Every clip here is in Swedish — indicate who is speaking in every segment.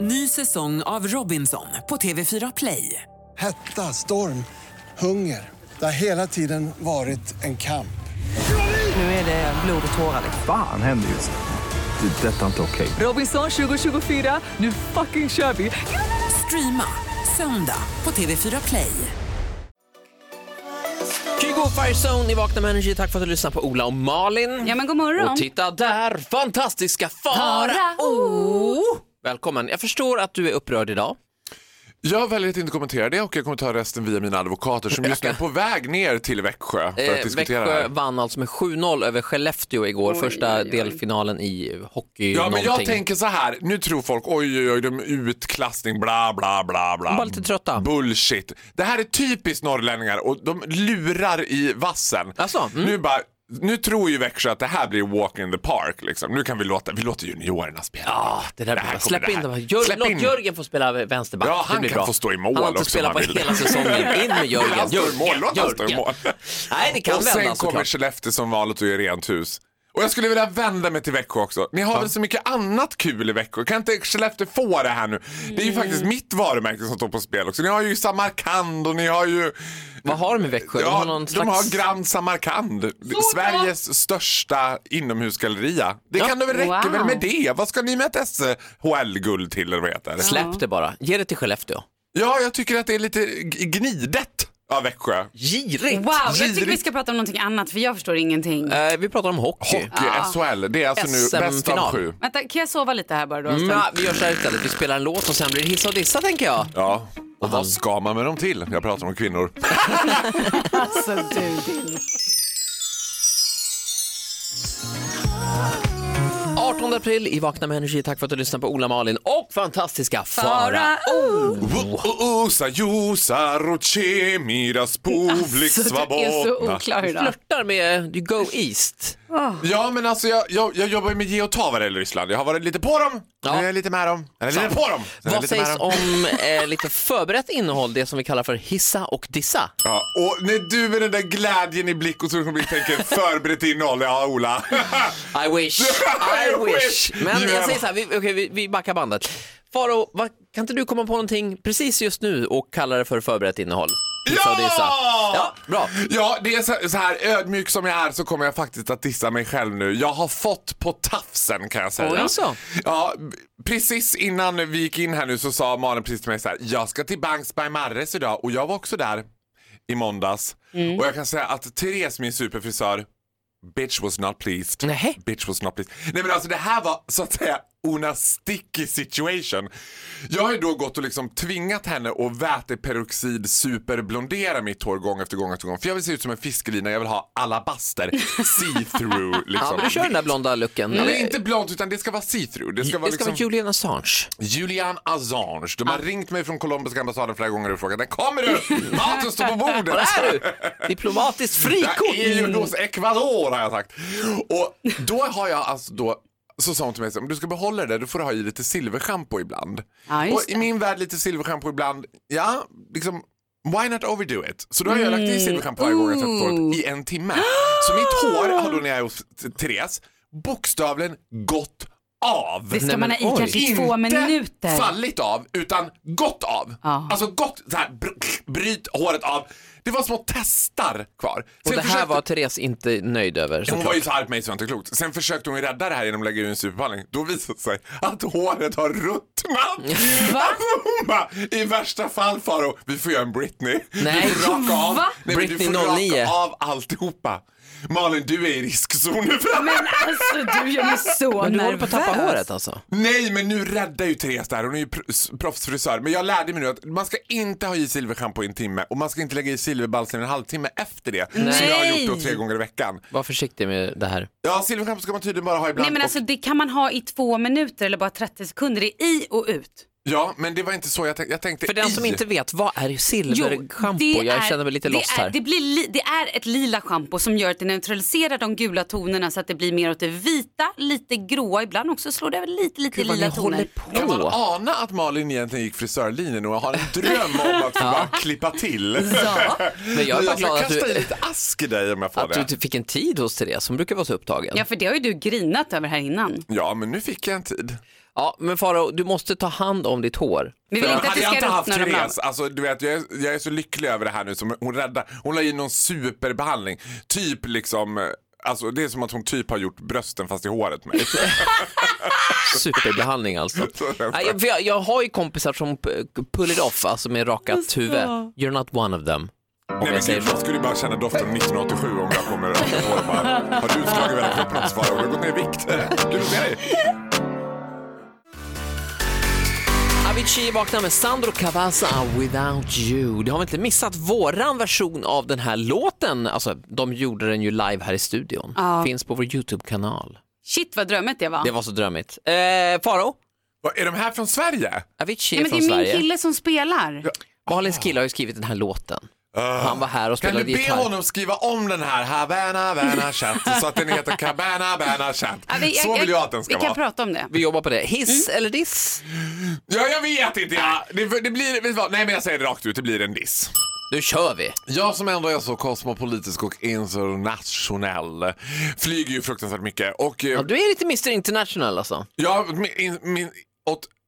Speaker 1: Ny säsong av Robinson på TV4 Play.
Speaker 2: Hetta, storm, hunger. Det har hela tiden varit en kamp.
Speaker 1: Nu är det blod och tårar. liksom.
Speaker 3: Fan händer just nu. Det. är Detta är inte okej.
Speaker 1: Robinson 2024, nu fucking kör vi! Streama söndag på TV4 Play.
Speaker 4: Kygo Firezone, ni vaknar med energi. Tack för att du lyssnar på Ola och Malin.
Speaker 5: Ja men god morgon.
Speaker 4: Och titta där, fantastiska Farao! Välkommen. Jag förstår att du är upprörd idag.
Speaker 6: Jag väljer att inte kommentera det och jag kommer ta resten via mina advokater som just nu är på väg ner till Växjö för att
Speaker 4: Eh,
Speaker 6: diskutera det
Speaker 4: Växjö
Speaker 6: här.
Speaker 4: vann alltså med 7-0 över Skellefteå igår, första delfinalen i hockey
Speaker 6: Ja, men jag
Speaker 4: någonting.
Speaker 6: tänker så här, nu tror folk oj, oj, oj, de är utklassning, bla, bla, bla, bla.
Speaker 4: De var lite trötta.
Speaker 6: Bullshit. Det här är typiskt norrlänningar och de lurar i vassen.
Speaker 4: Alltså, mm.
Speaker 6: Nu bara, nu tror ju Växjö att det här blir walk in the park liksom. Nu kan vi låta, vi låter juniorerna spela.
Speaker 4: Ah, det där
Speaker 6: Det
Speaker 4: blir
Speaker 6: här
Speaker 4: bra.
Speaker 6: kommer
Speaker 4: Släpp
Speaker 6: det
Speaker 4: in
Speaker 6: här.
Speaker 4: dem. Jör,
Speaker 6: Släpp
Speaker 4: låt
Speaker 6: in.
Speaker 4: Jörgen få spela vänsterback.
Speaker 6: Ja,
Speaker 4: det
Speaker 6: han
Speaker 4: blir
Speaker 6: kan
Speaker 4: bra.
Speaker 6: få stå i mål
Speaker 4: Han har inte
Speaker 6: också,
Speaker 4: spelat
Speaker 6: om
Speaker 4: på
Speaker 6: han vill.
Speaker 4: hela säsongen. In med Jörgen.
Speaker 6: Han står i mål,
Speaker 4: Jörgen,
Speaker 6: låt han stå i mål.
Speaker 4: Nej, det kan
Speaker 6: och
Speaker 4: vända
Speaker 6: sen kommer
Speaker 4: såklart.
Speaker 6: Skellefteå som vanligt och gör rent hus. Och jag skulle vilja vända mig till Växjö också. Ni har väl så mycket annat kul i Växjö? Kan inte Skellefteå få det här nu? Det är
Speaker 4: Mm.
Speaker 6: ju faktiskt mitt varumärke som står på spel också. Ni har ju Samarkand och ni har ju...
Speaker 4: Vad har de i Växjö? De har
Speaker 6: Ja,
Speaker 4: någon
Speaker 6: de
Speaker 4: slags-
Speaker 6: har Grand Samarkand. Sveriges största inomhusgalleria. Det kan det väl räcka
Speaker 5: Wow.
Speaker 6: väl med det? Vad ska ni med ett SHL-guld till eller vad heter det?
Speaker 4: Släpp det bara. Ge det till Skellefteå.
Speaker 6: Ja, jag tycker att det är lite g- gnidet av Växjö.
Speaker 4: Girigt.
Speaker 5: Wow, jag tycker vi ska prata om någonting annat för jag förstår ingenting.
Speaker 4: Eh, vi pratar om hockey.
Speaker 6: Hockey, SHL, det är alltså nu
Speaker 4: SM-final.
Speaker 6: bäst av sju.
Speaker 5: Vänta, kan jag sova lite här bara då? en stund?
Speaker 4: Mm, ja, vi gör så här istället. Vi spelar en låt och sen blir det hissa och dissa tänker jag.
Speaker 6: Ja, och vad ska man med dem till? Jag pratar om kvinnor.
Speaker 5: Alltså du din.
Speaker 4: 18 april i Vakna med Energy. Tack för att du lyssnar på Ola Malin och fantastiska Farao. Oh.
Speaker 6: oh, Usa roche miras public
Speaker 4: Alltså,
Speaker 5: Så du är så
Speaker 6: svabona.
Speaker 5: oklar idag.
Speaker 4: Flörtar med du Go East.
Speaker 6: Ja, men alltså jag, jag, jag jobbar ju med ge och ta vad det gäller Ryssland. Jag har varit lite på dem,
Speaker 4: Ja.
Speaker 6: nu är jag lite med dem, eller lite på dem. sen är jag
Speaker 4: Vad
Speaker 6: lite med
Speaker 4: sägs om
Speaker 6: dem.
Speaker 4: eh, lite förberett innehåll, det som vi kallar för hissa och dissa?
Speaker 6: Ja, och när du med den där glädjen i blick och så kommer vi tänker förberett innehåll, ja Ola.
Speaker 4: I wish, I
Speaker 6: I
Speaker 4: wish.
Speaker 6: wish.
Speaker 4: Men jag
Speaker 6: Yeah.
Speaker 4: säger så här, vi, okej, vi, vi backar bandet. Faro, vad, kan inte du komma på någonting precis just nu och kalla det för förberett innehåll? Hissa och dissa.
Speaker 6: Ja!
Speaker 4: Ja, bra.
Speaker 6: Ja, det är så- så här ödmjuk som jag är så kommer jag faktiskt att dissa mig själv nu. Jag har fått på tafsen kan jag säga.
Speaker 4: Oj, så.
Speaker 6: Ja, b- precis innan vi gick in här nu så sa Malin precis till mig så här. Jag ska till Banks by Marres idag och jag var också där i måndags.
Speaker 4: Mm.
Speaker 6: Och jag kan säga att Therese, min superfrisör, bitch was not pleased.
Speaker 4: Nej.
Speaker 6: Bitch was not pleased. Nej men alltså det här var så att säga una sticky situation. Jag har ju då gått och liksom tvingat henne att väteperoxid superblondera mitt hår gång efter gång efter gång. För jag vill se ut som en fiskelina, jag vill ha alabaster, see-through
Speaker 4: Ja,
Speaker 6: liksom.
Speaker 4: men du kör den där blonda looken.
Speaker 6: Nej,
Speaker 4: Eller-
Speaker 6: men inte blont utan det ska vara see-through. Det ska vara,
Speaker 4: det ska
Speaker 6: liksom...
Speaker 4: vara Julian Assange.
Speaker 6: Julian Assange. De har ringt mig från colombiska ambassaden flera gånger och frågat när kommer du? Maten står på bordet!
Speaker 4: Där är du! Diplomatiskt frikort!
Speaker 6: Jag är ju hos Ecuador har jag sagt. Och då har jag alltså då så sa hon till mig, så här, om du ska behålla det där, då får du ha i lite silverschampo ibland.
Speaker 5: Ja, just
Speaker 6: och i min värld lite silverschampo ibland, ja, liksom why not overdo it? Så då har jag
Speaker 5: Mm.
Speaker 6: lagt i silverschampo varje gång jag tvättar håret i en timme. Så mitt hår har då när jag är hos Therese bokstavligen gått av.
Speaker 5: Det ska
Speaker 4: Nej,
Speaker 5: man ha
Speaker 4: men
Speaker 5: i
Speaker 4: oj.
Speaker 5: kanske två minuter.
Speaker 6: fallit av, utan gått av.
Speaker 5: Ja.
Speaker 6: Alltså gått, så här, br- bryt håret av. Det var små testar kvar.
Speaker 4: Och det här
Speaker 6: försökte-
Speaker 5: typ-
Speaker 4: var Therese inte nöjd över.
Speaker 6: hon
Speaker 4: såklart.
Speaker 6: var ju så arg på mig så det var inte klokt. Sen försökte hon ju rädda det här genom att lägga ur en superbehandling. Då visade det sig att håret har ruttnat. Alltså hon bara, i värsta fall Faro, vi får göra en Britney.
Speaker 4: Nej.
Speaker 6: Du får raka av.
Speaker 5: Va?
Speaker 6: Nej, men
Speaker 4: Britney
Speaker 6: du får
Speaker 4: 09.
Speaker 6: raka av alltihopa. Malin, du är i riskzonen för det här.
Speaker 5: Men alltså du gör mig så
Speaker 4: Men du håller på
Speaker 5: nervös.
Speaker 4: att tappa håret alltså?
Speaker 6: Nej, men nu räddar ju Therese det här. Hon är ju pr- proffsfrisör. Men jag lärde mig nu att man ska inte ha i silverschampo i en timme och man ska inte lägga i silverbalsam i en halvtimme efter det. Som jag har gjort då tre gånger i veckan.
Speaker 4: Var försiktig med det här.
Speaker 6: Ja, silverschampo ska man tydligen bara ha ibland.
Speaker 5: Nej men
Speaker 6: och-
Speaker 5: alltså det kan man ha i två minuter eller bara 30 sekunder. Det är i och ut.
Speaker 6: Ja, men det var inte så jag tänkte. Jag tänkte
Speaker 4: För den som
Speaker 6: i.
Speaker 4: inte vet, vad är silverschampo?
Speaker 5: det
Speaker 4: Jag
Speaker 5: är-
Speaker 4: känner mig lite
Speaker 5: det
Speaker 4: lost
Speaker 5: är,
Speaker 4: här.
Speaker 5: Det, blir li, det är ett lila schampo som gör att det neutraliserar de gula tonerna så att det blir mer åt det vita, lite gråa, ibland också slår det över lite, lite
Speaker 4: Gud, vad ni
Speaker 5: lila
Speaker 4: håller
Speaker 5: toner.
Speaker 6: Kan man
Speaker 4: på.
Speaker 6: ana att Malin egentligen gick frisörlinjen och har en dröm om att få bara klippa till?
Speaker 5: Ja.
Speaker 4: Men jag är bara
Speaker 6: jag
Speaker 4: glad
Speaker 6: ska
Speaker 4: att
Speaker 6: kasta i
Speaker 4: du,
Speaker 6: lite ask i dig om jag får
Speaker 4: att
Speaker 6: det.
Speaker 4: du fick en tid hos Therese. Hon brukar vara så upptagen.
Speaker 5: ja, för det har ju du grinat över här innan.
Speaker 6: Ja, men nu fick jag en tid.
Speaker 4: Ja, men Faro, du måste ta hand om ditt hår.
Speaker 5: Vi vill inte att
Speaker 6: Hade
Speaker 5: det
Speaker 6: jag
Speaker 5: ska
Speaker 6: inte haft
Speaker 5: ruttna de här.
Speaker 6: Therese, alltså, du vet, jag, är, jag är så lycklig över det här nu som hon räddar. Hon la in någon superbehandling. Typ liksom, eh, alltså det är som att hon typ har gjort brösten fast i håret med.
Speaker 4: Superbehandling alltså. Nej, jag, för jag, jag har ju kompisar som p- pull it off, alltså med rakat huvud. You're not one of them. Om
Speaker 6: Nej, men
Speaker 4: jag säger
Speaker 6: gud,
Speaker 4: så.
Speaker 6: jag skulle ju bara känna doften 1987 om jag kommer och rackar på och bara, har du slagit väldigt mycket plats Farao? Du har gått ner i vikt. Du luktar dig.
Speaker 4: Avicii vaknar med Sandro Cavazza, Without You. Det har vi inte missat våran version av den här låten. Alltså, de gjorde den ju live här i studion. Finns på vår YouTube-kanal.
Speaker 5: Shit vad drömmigt det var.
Speaker 4: Det var så drömmigt. Eh, Faro,
Speaker 6: Vad, Är de här från Sverige?
Speaker 4: Avicii
Speaker 5: Nej,
Speaker 4: är
Speaker 5: men det
Speaker 4: från
Speaker 5: är min
Speaker 4: Sverige.
Speaker 5: kille som spelar.
Speaker 4: Malins kille har ju skrivit den här låten. Han var här och
Speaker 6: Kan
Speaker 4: spelade
Speaker 6: du be
Speaker 4: gitarr.
Speaker 6: honom skriva om den här Havana Havana Chat så att den heter Cabana Havana Chat?
Speaker 5: Ja, vi-
Speaker 6: Så vill jag att den ska
Speaker 5: Vi kan
Speaker 6: vara.
Speaker 5: prata om det.
Speaker 4: Vi jobbar på det. Hiss
Speaker 5: Mm.
Speaker 4: eller diss?
Speaker 6: Ja, jag vet inte. Ja. Det, det blir, vet du vad? Nej, men jag säger det rakt ut. Det blir en diss.
Speaker 4: Nu kör vi!
Speaker 6: Jag som ändå är så kosmopolitisk och internationell flyger ju fruktansvärt mycket. Och, eh,
Speaker 4: Ja, du är lite Mr International alltså.
Speaker 6: Ja, min, in- min,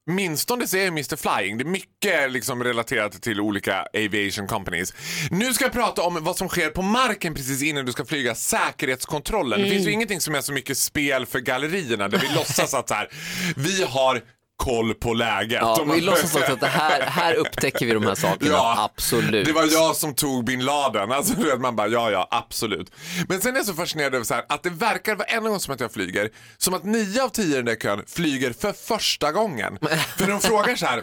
Speaker 6: åtminstone så är jag Mr Flying. Det är mycket liksom relaterat till olika aviation companies. Nu ska jag prata om vad som sker på marken precis innan du ska flyga. Säkerhetskontrollen. Det
Speaker 4: Mm.
Speaker 6: finns ju ingenting som är så mycket spel för gallerierna där vi låtsas att så här, vi har koll på läget.
Speaker 4: Ja,
Speaker 6: Om man-
Speaker 4: vi låtsas också att det här, här upptäcker vi de här sakerna. Absolut.
Speaker 6: Det var jag som tog bin Laden. Alltså, du vet, man bara, ja, ja, absolut. Men sen är jag så fascinerad över så här, att det verkar varenda gång som att jag flyger, som att nio av tio i den där kön flyger för första gången. För de frågar så här,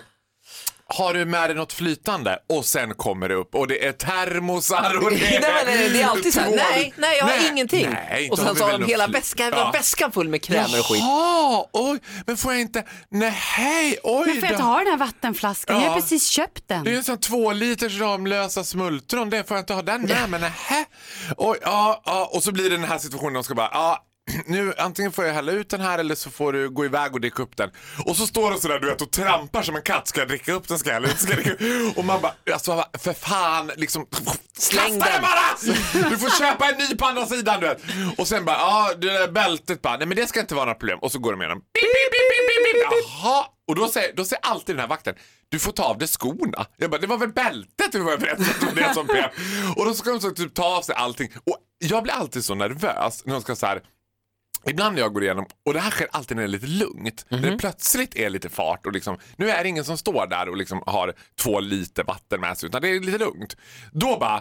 Speaker 6: har du med dig något flytande? Och sen kommer det upp och det är termosar och det
Speaker 4: Nej,
Speaker 6: är
Speaker 4: men nej, det är alltid så här,
Speaker 6: tvål.
Speaker 4: nej, nej, jag har ingenting.
Speaker 6: nej, inte
Speaker 4: och sen
Speaker 6: har vi
Speaker 4: så har
Speaker 6: väl
Speaker 4: de
Speaker 6: något
Speaker 4: hela
Speaker 6: fly-
Speaker 4: väskan,
Speaker 6: Ja.
Speaker 4: väskan full med krämer och skit.
Speaker 6: Jaha, oj, men får jag inte, nej, hej, oj
Speaker 5: Men får jag
Speaker 6: då.
Speaker 5: inte ha den här vattenflaskan? Jag har
Speaker 6: Ja.
Speaker 5: precis köpt den.
Speaker 6: Det är en sån två liters Ramlösa smultron, det får jag inte ha den med men nähä. Oj, ja, ja. Och så blir det den här situationen, de ska bara, ja, nu antingen får jag hälla ut den här eller så får du gå iväg och dricka upp den. Och så står de sådär du vet och trampar som en katt, ska jag dricka upp den, ska jag hälla ut, ska jag dricka upp? Och man bara, alltså vad- för fan, liksom,
Speaker 4: Släng
Speaker 6: kasta
Speaker 4: den.
Speaker 6: den bara! Du får köpa en ny på andra sidan du vet. Och sen bara, ja det där bältet bara, nej men det ska inte vara några problem. Och så går de igenom, Pip, pip, pip, pip, pip, pip. jaha. Och då säger, då säger alltid den här vakten, du får ta av dig skorna. Jag bara, det var väl bältet vi var överens om att det var det som pep. Och då ska de så typ ta av sig allting. Och jag blir alltid så nervös när de ska så här Ibland när jag går igenom, och det här sker alltid när det är lite lugnt, när det plötsligt är lite fart och liksom, nu är det ingen som står där och liksom har två liter vatten med sig utan det är lite lugnt. Då bara,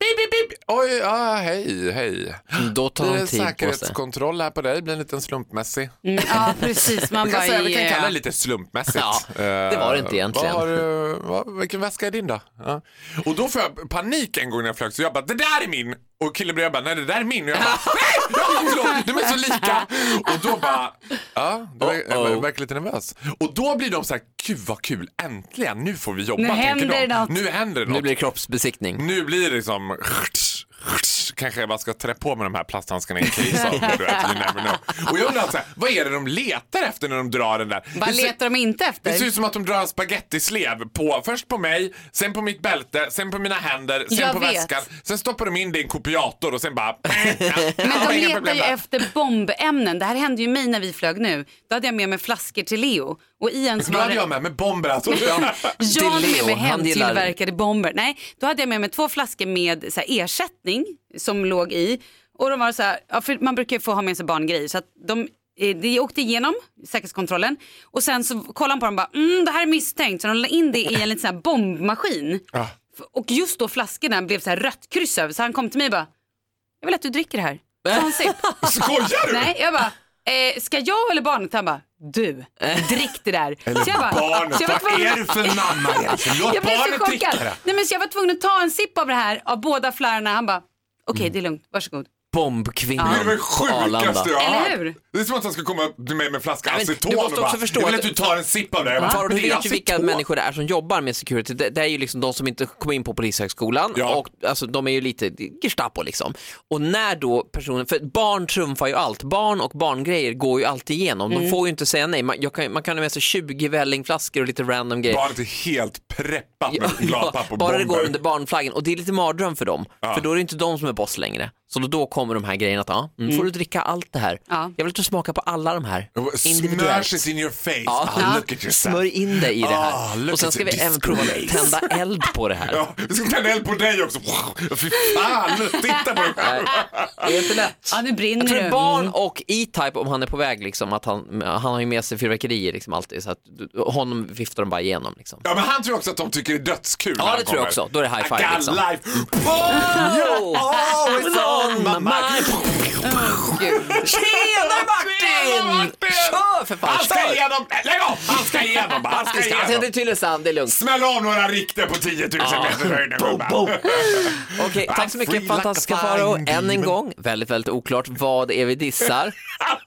Speaker 6: bip, bip, bip. oj, ja, hej, hej.
Speaker 4: Då tar
Speaker 6: Det är
Speaker 4: de tid på sig.
Speaker 6: säkerhetskontroll här på dig, blir en liten slumpmässig.
Speaker 5: Mm, ja, precis. Man
Speaker 6: Vi kan,
Speaker 5: bara, eh,
Speaker 6: säga, vi kan
Speaker 5: yeah.
Speaker 6: kalla det lite slumpmässigt.
Speaker 4: Ja, det var det inte
Speaker 6: Eh,
Speaker 4: egentligen.
Speaker 6: Vad har, du- vad, vilken väska är din då? Ja. Och då får jag panik en gång när jag flög så jag bara, det där är min! Och killen bredvid bara, nej det där är min. Och jag bara, nej! Ja, förlåt, de är så lika! Och då bara, ja, då är, jag
Speaker 4: Uh-oh.
Speaker 6: verkar lite nervös. Och då blir de så här, gud vad kul, äntligen, nu får vi jobba.
Speaker 5: Nu
Speaker 6: tänker
Speaker 5: händer
Speaker 6: de.
Speaker 5: något.
Speaker 6: Nu händer det något.
Speaker 4: Nu blir det kroppsbesiktning.
Speaker 6: Nu blir det liksom... Kanske jag bara ska trä på mig de här plasthandskarna i en case av det, du vet, you never know. Och jag undrar, så här, vad är det de letar efter när de drar den där?
Speaker 5: Vad
Speaker 6: Det ser-
Speaker 5: letar de inte efter?
Speaker 6: det ser ut som att de drar en spagettislev på, först på mig, sen på mitt bälte, sen på mina händer, sen
Speaker 5: Jag
Speaker 6: på
Speaker 5: vet.
Speaker 6: väskan. Sen stoppar de in det i en kopiator och sen bara... Men
Speaker 5: Men de letar ju efter bombämnen. Det här hände ju mig när vi flög nu. Då hade jag med mig flaskor till Leo. Och i en så
Speaker 6: Nu
Speaker 5: var
Speaker 6: hade
Speaker 5: det-
Speaker 6: jag med mig bomber alltså.
Speaker 5: Jag hade med mig
Speaker 4: Leo, han gillar-
Speaker 5: hemtillverkade bomber. Nej, då hade jag med mig två flaskor med så här, ersättning som låg i. Och de var så här, ja, för man brukar ju få ha med sig barngrejer. Så att de, eh, de åkte igenom säkerhetskontrollen och sen så kollade han på dem och bara, mm, det här är misstänkt. Så de la in det i en liten sån här bombmaskin.
Speaker 6: Ja.
Speaker 5: F- Och just då flaskorna blev så här rött kryss över så han kom till mig och bara, jag vill att du dricker det här. Ta en sipp.
Speaker 6: Skojar du?
Speaker 5: Nej, jag bara, eh, ska jag eller barnet? Han bara, du, drick det där. så jag bara,
Speaker 6: Barnet,
Speaker 5: så jag var
Speaker 6: vad
Speaker 5: tvungen-
Speaker 6: är du för mamma egentligen? Låt
Speaker 5: jag blev så
Speaker 6: barnet dricka
Speaker 5: chockad.
Speaker 6: det.
Speaker 5: Nej, men så jag var tvungen att ta en sipp av det här, av båda flärrarna. Han bara, okej
Speaker 6: Mm.
Speaker 5: det är lugnt, varsågod.
Speaker 4: Bombkvinnan
Speaker 6: Det är det
Speaker 4: på Arlanda.
Speaker 6: sjukaste jag har
Speaker 5: Eller
Speaker 6: hört.
Speaker 5: hur?
Speaker 6: Det är som att han ska komma till mig med en flaska
Speaker 4: Nej, men
Speaker 6: aceton
Speaker 4: du
Speaker 6: och
Speaker 4: måste
Speaker 6: bara,
Speaker 4: också förstå
Speaker 6: jag vill
Speaker 4: att-
Speaker 6: att du tar en sipp av det. Jag bara,
Speaker 4: Farao, du
Speaker 6: "Det är
Speaker 4: vet ju vilka
Speaker 6: aceton."
Speaker 4: människor det är som jobbar med security. Det, det är ju liksom de som inte kom in på Polishögskolan
Speaker 6: Ja.
Speaker 4: och alltså, de är ju lite Gestapo liksom. Och när då personen, för barn trumfar ju allt, barn och barngrejer går ju alltid igenom.
Speaker 6: Mm.
Speaker 4: De får ju inte säga nej, man, jag kan, man kan ha med sig 20 vällingflaskor och lite random grejer.
Speaker 6: Barnet är helt preppat med chokladpapp och
Speaker 4: bara det
Speaker 6: bomber.
Speaker 4: går under barnflaggen och det är lite mardröm för dem, för då är det inte de som är boss längre. Så då, då kommer de här grejerna att, ja, mm. får du dricka allt det här?
Speaker 5: Ja.
Speaker 4: Jag vill att du smakar på alla de här. individuellt.
Speaker 6: Smash it in your face.
Speaker 4: Ja.
Speaker 6: Ah, look at yourself.
Speaker 4: Smörj in dig i det
Speaker 6: Ah,
Speaker 4: här.
Speaker 6: look
Speaker 4: Och sen
Speaker 6: at
Speaker 4: ska vi
Speaker 6: your
Speaker 4: även prova att
Speaker 6: disgrace.
Speaker 4: tända eld på det här.
Speaker 6: Ja, vi ska tända eld på dig också. Wow, Fy fan, titta på dig själv.
Speaker 4: Det är Mm. inte lätt.
Speaker 5: Ja, nu brinner
Speaker 4: jag tror
Speaker 5: du.
Speaker 4: barn och E-Type, om han är på väg, liksom, att han, han har ju med sig fyrverkerier liksom, alltid, så att du- honom viftar de bara igenom. Liksom.
Speaker 6: Ja, men han tror också att de tycker det är dödskul
Speaker 4: Ja,
Speaker 6: när han
Speaker 4: det tror jag
Speaker 6: kommer.
Speaker 4: också. Då är det high
Speaker 6: I
Speaker 4: five,
Speaker 6: got
Speaker 4: liksom.
Speaker 6: life. Oh, you're always on my mind.
Speaker 4: Tjena
Speaker 6: Tjena,
Speaker 4: Martin!
Speaker 6: Martin!
Speaker 4: Kör för fan!
Speaker 6: Han ska
Speaker 4: kör!
Speaker 6: igenom! Nej, Lägg av! Han ska igenom bara. Han ska
Speaker 4: Han ska till
Speaker 6: igenom.
Speaker 4: Tylösand, det är lugnt.
Speaker 6: Smäll av några rikter på 10 000 meter höjden gubbar.
Speaker 4: Okej, tack så
Speaker 6: free
Speaker 4: mycket
Speaker 6: like a
Speaker 4: fantastiska
Speaker 6: flying
Speaker 4: Farao. Än en
Speaker 6: demon.
Speaker 4: gång, väldigt, väldigt oklart vad det är vi dissar.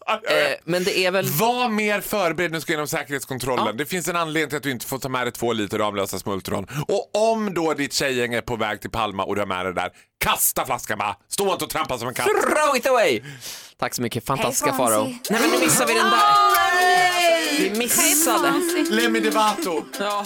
Speaker 4: Eh, men det är väl...
Speaker 6: Var mer förberedd när du ska genom säkerhetskontrollen. Det finns en anledning till att du inte får ta med dig två liter Ramlösa smultron. Och om då ditt tjejgäng är på väg till Palma och du har med dig där, kasta flaskan bara. Stå inte och trampa som en katt.
Speaker 4: Throw it away! Tack så mycket fantastiska Farao. Nej men nu missar vi den där. Vi missade.
Speaker 6: Lemmy Devato.
Speaker 4: Ja.